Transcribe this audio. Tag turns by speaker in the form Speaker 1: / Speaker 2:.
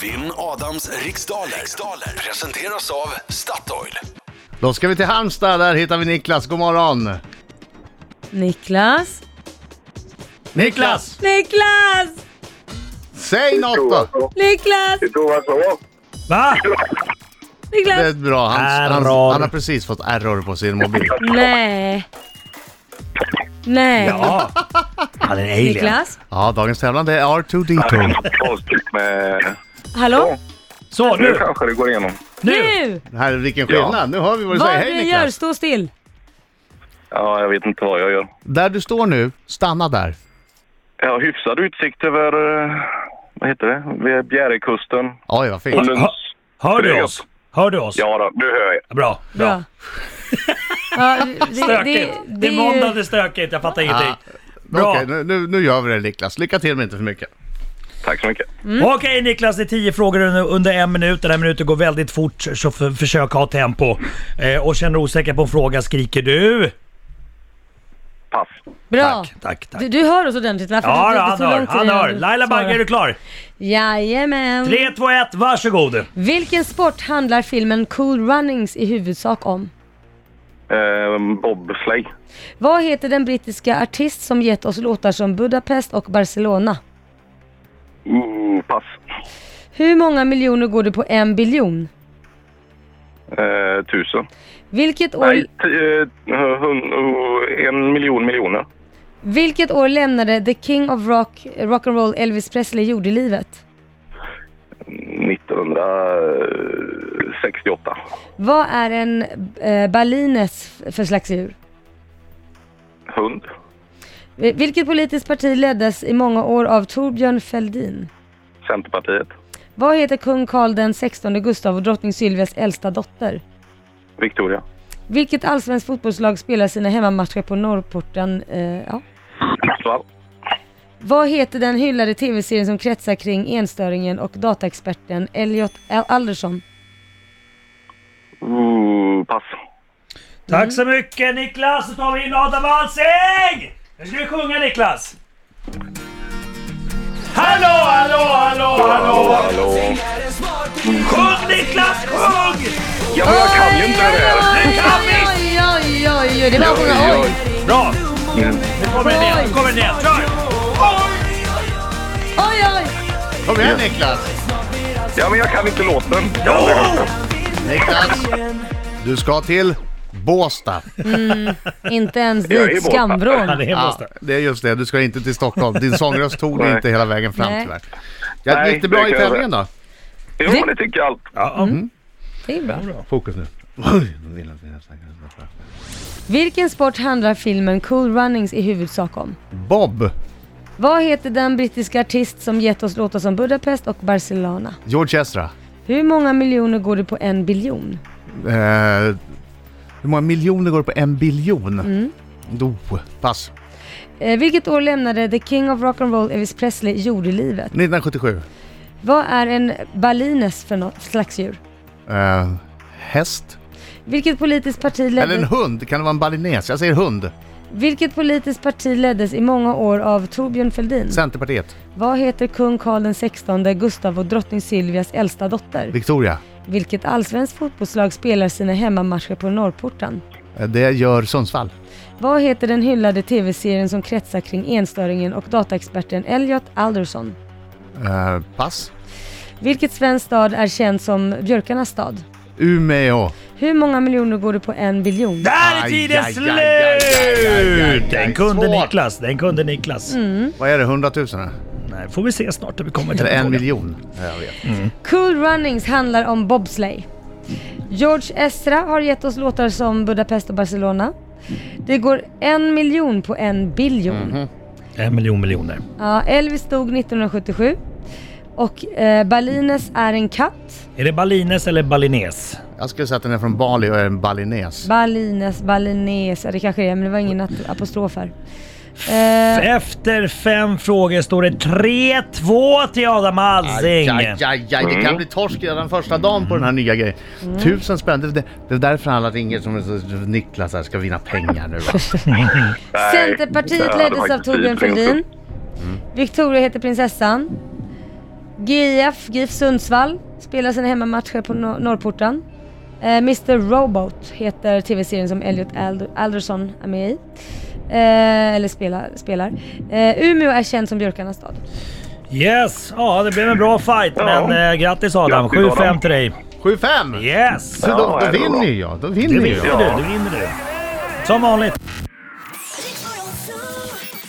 Speaker 1: Vinn Adams riksdaler. riksdaler presenteras av Statoil.
Speaker 2: Då ska vi till Halmstad, där hittar vi Niklas. God morgon!
Speaker 3: Niklas?
Speaker 2: Niklas!
Speaker 3: Niklas!
Speaker 2: Säg något då!
Speaker 3: Niklas!
Speaker 4: Tomasson.
Speaker 5: Va?
Speaker 2: Det är
Speaker 3: Niklas!
Speaker 2: bra. Han, han,
Speaker 5: Error.
Speaker 2: han har precis fått error på sin mobil.
Speaker 3: Nej. Nej.
Speaker 5: Ja. Han är en alien.
Speaker 3: Niklas?
Speaker 2: Ja, dagens tävlande är R2D2.
Speaker 4: Avslut med...
Speaker 3: Hallå?
Speaker 5: Så,
Speaker 4: Nu
Speaker 5: nu!
Speaker 4: kanske det går igenom.
Speaker 5: Nu!
Speaker 3: Nu!
Speaker 2: Här, vilken skillnad. Nu hör vi vad du
Speaker 3: Vad
Speaker 2: säger.
Speaker 3: du
Speaker 2: Hej
Speaker 3: än
Speaker 2: Niklas!
Speaker 3: gör, stå still.
Speaker 4: Ja, jag vet inte vad jag gör.
Speaker 2: Där du står nu, stanna där.
Speaker 4: Jag har hyfsad utsikt över... eh, Vad heter det? Vid Bjärekusten.
Speaker 2: Oj, vad
Speaker 4: Och
Speaker 2: fint.
Speaker 4: Lunds.
Speaker 5: Hör du
Speaker 4: Trevligt.
Speaker 5: oss? Hör du oss?
Speaker 4: Ja, då, nu hör jag.
Speaker 5: Bra, bra.
Speaker 3: Bra. Ja, det, det, Ah.
Speaker 5: Stökigt. Det är
Speaker 3: ju-
Speaker 5: måndag, det är stökigt. Jag fattar ingenting.
Speaker 2: Okej,
Speaker 5: Bra.
Speaker 2: nu, nu, nu gör vi det Niklas. Lycka till men inte för mycket.
Speaker 4: Tack så mycket.
Speaker 2: Mm.
Speaker 5: Okej Niklas, det är tio frågor under, under en minut. Den här minuten går väldigt fort, så för, försök ha tempo. Eh, och känner du osäker på en fråga skriker du.
Speaker 4: Pass.
Speaker 3: Bra.
Speaker 5: Tack, tack, tack.
Speaker 3: Du, du hör oss ordentligt va? För
Speaker 5: Ja,
Speaker 3: det-
Speaker 5: då,
Speaker 3: det Mm. tog
Speaker 5: han hör.
Speaker 3: lång tid
Speaker 5: Han
Speaker 3: innan
Speaker 5: hör.
Speaker 3: du
Speaker 5: Laila Bagge, är
Speaker 3: svarade.
Speaker 5: du klar?
Speaker 3: Jajamän.
Speaker 5: 3, 2, 1, varsågod.
Speaker 3: Vilken sport handlar filmen Cool Runnings i huvudsak om?
Speaker 4: Eh, bobsleigh.
Speaker 3: Vad heter den brittiska artist som gett oss låtar som Budapest och Barcelona?
Speaker 4: Mm, pass.
Speaker 3: Hur många miljoner går det på en biljon?
Speaker 4: Eh, tusen.
Speaker 3: Vilket år,
Speaker 4: Nej, t- eh, hun- oh, en miljon miljoner.
Speaker 3: vilket år lämnade The King of Rock, rock and roll Elvis Presley jordelivet?
Speaker 4: 1968.
Speaker 3: Vad är en eh, balines f- för slags djur?
Speaker 4: Hund.
Speaker 3: Eh, Vilket politiskt parti leddes i många år av Torbjörn Fälldin?
Speaker 4: Centerpartiet.
Speaker 3: Vad heter kung Carl den 16 Gustav och drottning Sylvias äldsta dotter?
Speaker 4: Victoria.
Speaker 3: Vilket allsvenskt fotbollslag spelar sina hemmamatcher på Norrporten? Eh, ja.
Speaker 4: Hudiksvall.
Speaker 3: Vad heter den hyllade tv-serien som kretsar kring enstöringen och dataexperten Elliot Al- Alderson?
Speaker 4: Ooh, Mm, pass.
Speaker 5: Tack så mycket Niklas! Så tar vi in Adam Alsing! Nu ska vi sjunga Niklas! Hallå, hallå, hallå, hallå! Sjung Niklas, sjung!
Speaker 4: Ja, men jag kan ju inte det här.
Speaker 5: Du kan visst!
Speaker 3: Oj, oj, oj, oj, det är bara att sjunga oj,
Speaker 5: Bra!
Speaker 2: Mm.
Speaker 5: Nu kommer den ner, nu kommer den ner. Kör!
Speaker 3: oj, oj!
Speaker 2: Kom igen Niklas!
Speaker 4: Ja, men jag kan inte låten.
Speaker 5: Jo!
Speaker 2: Niklas! Du ska till Båstad.
Speaker 3: Inte ens
Speaker 4: Jag är
Speaker 3: dit,
Speaker 4: borta.
Speaker 5: Han
Speaker 3: skambron.
Speaker 5: är hemma hos dig.
Speaker 2: det är just det. Du ska inte till Stockholm. Din sångröst tog dig
Speaker 4: Nej.
Speaker 2: inte hela vägen fram
Speaker 3: Nej.
Speaker 2: tyvärr. Ja,
Speaker 4: Nej,
Speaker 2: gick det bra
Speaker 4: det
Speaker 2: i
Speaker 4: kan jag
Speaker 2: tävlingen då?
Speaker 4: Jo, men det tycker jag allt.
Speaker 5: Ja,
Speaker 3: Det är bra.
Speaker 2: Fokus nu. Oj, nu vill jag att vi snackar.
Speaker 3: Vilken sport handlar filmen Cool Runnings i huvudsak om?
Speaker 2: Bob,
Speaker 3: Vad heter den brittiska artist som gett oss låtar som Budapest och Barcelona?
Speaker 2: George Ezra.
Speaker 3: Hur många miljoner går det på en biljon?
Speaker 2: Eh, hur många miljoner går det på en biljon? Oh, pass.
Speaker 3: Eh, vilket år lämnade The King of Rock and Roll Elvis Presley jordelivet?
Speaker 2: 1977.
Speaker 3: Vad är en balines för något slags djur?
Speaker 2: Eh, häst?
Speaker 3: Vilket politiskt parti
Speaker 2: Eller en
Speaker 3: leddes,
Speaker 2: hund? Kan det vara en balines? Jag säger hund.
Speaker 3: vilket politiskt parti leddes i många år av Torbjörn Fälldin?
Speaker 2: Centerpartiet.
Speaker 3: Vad heter kung Carl den 16 Gustav och drottning Silvias äldsta dotter?
Speaker 2: Victoria.
Speaker 3: Vilket allsvenskt fotbollslag spelar sina hemmamatcher på Norrporten?
Speaker 2: Eh, Det gör Sundsvall.
Speaker 3: Vad heter den hyllade tv-serien som kretsar kring enstöringen och dataexperten Elliot Alderson?
Speaker 2: Eh, pass.
Speaker 3: Vilket svensk stad är känd som björkarnas stad?
Speaker 2: Umeå.
Speaker 3: Hur många miljoner går det på en biljon?
Speaker 5: Där är tiden
Speaker 2: Aj, aj, aj, aj, aj, aj, aj, aj.
Speaker 5: slut! Den kunde
Speaker 2: Svårt.
Speaker 5: Niklas, den kunde Niklas.
Speaker 2: Vad är det? 100 000? eller?
Speaker 5: Nej, får vi se snart när vi kommer till
Speaker 2: Eller
Speaker 5: den
Speaker 2: en
Speaker 5: frågan.
Speaker 2: miljon? Jag vet.
Speaker 3: Cool Runnings handlar om bobsleigh. George Ezra har gett oss låtar som Budapest och Barcelona. Det går en miljon på en biljon.
Speaker 5: En miljon miljoner.
Speaker 3: Ja, Elvis dog 1977. Och eh, Balines är en katt.
Speaker 5: Är det balines eller balines?
Speaker 2: Jag skulle säga att den är från Bali och är en balines.
Speaker 3: Balines, balines, ja det kanske är men det var ingen at- apostrof här. Eh,
Speaker 5: Efter fem frågor står det 3-2 till Adam Alsing.
Speaker 2: Aj, aj, aj,
Speaker 4: Mm.
Speaker 2: det kan bli torsk redan första dagen på den här nya grejen. Tusen spänn. Det, det, det är därför alla ringer som är så- Niklas här ska vinna pengar nu va?
Speaker 4: Nej,
Speaker 3: Centerpartiet
Speaker 4: det hade
Speaker 3: leddes av
Speaker 4: faktiskt
Speaker 3: Torbjörn
Speaker 4: blivit
Speaker 3: Fälldin. Victoria heter prinsessan. GIF, GIF Sundsvall, spelar sina hemmamatcher på Nor- Norrporten. Eh, Mr Robot heter tv-serien som Elliot Ald- Alderson är med i. Eh, eller spelar. spelar. Eh, Umeå är känd som björkarnas stad.
Speaker 5: Yes, ja det blev en bra fight
Speaker 4: Ja.
Speaker 5: men eh, grattis Adam.
Speaker 4: Grattis, Adam.
Speaker 5: 7-5 till dig.
Speaker 2: 7-5!
Speaker 5: Yes!
Speaker 2: Så då,
Speaker 4: det
Speaker 2: då
Speaker 4: är bra.
Speaker 2: vinner ju jag, då
Speaker 5: Det
Speaker 2: vinner ju
Speaker 5: vinner
Speaker 2: jag.
Speaker 5: du, det vinner du. Som vanligt.
Speaker 6: Riks Morgonzoo.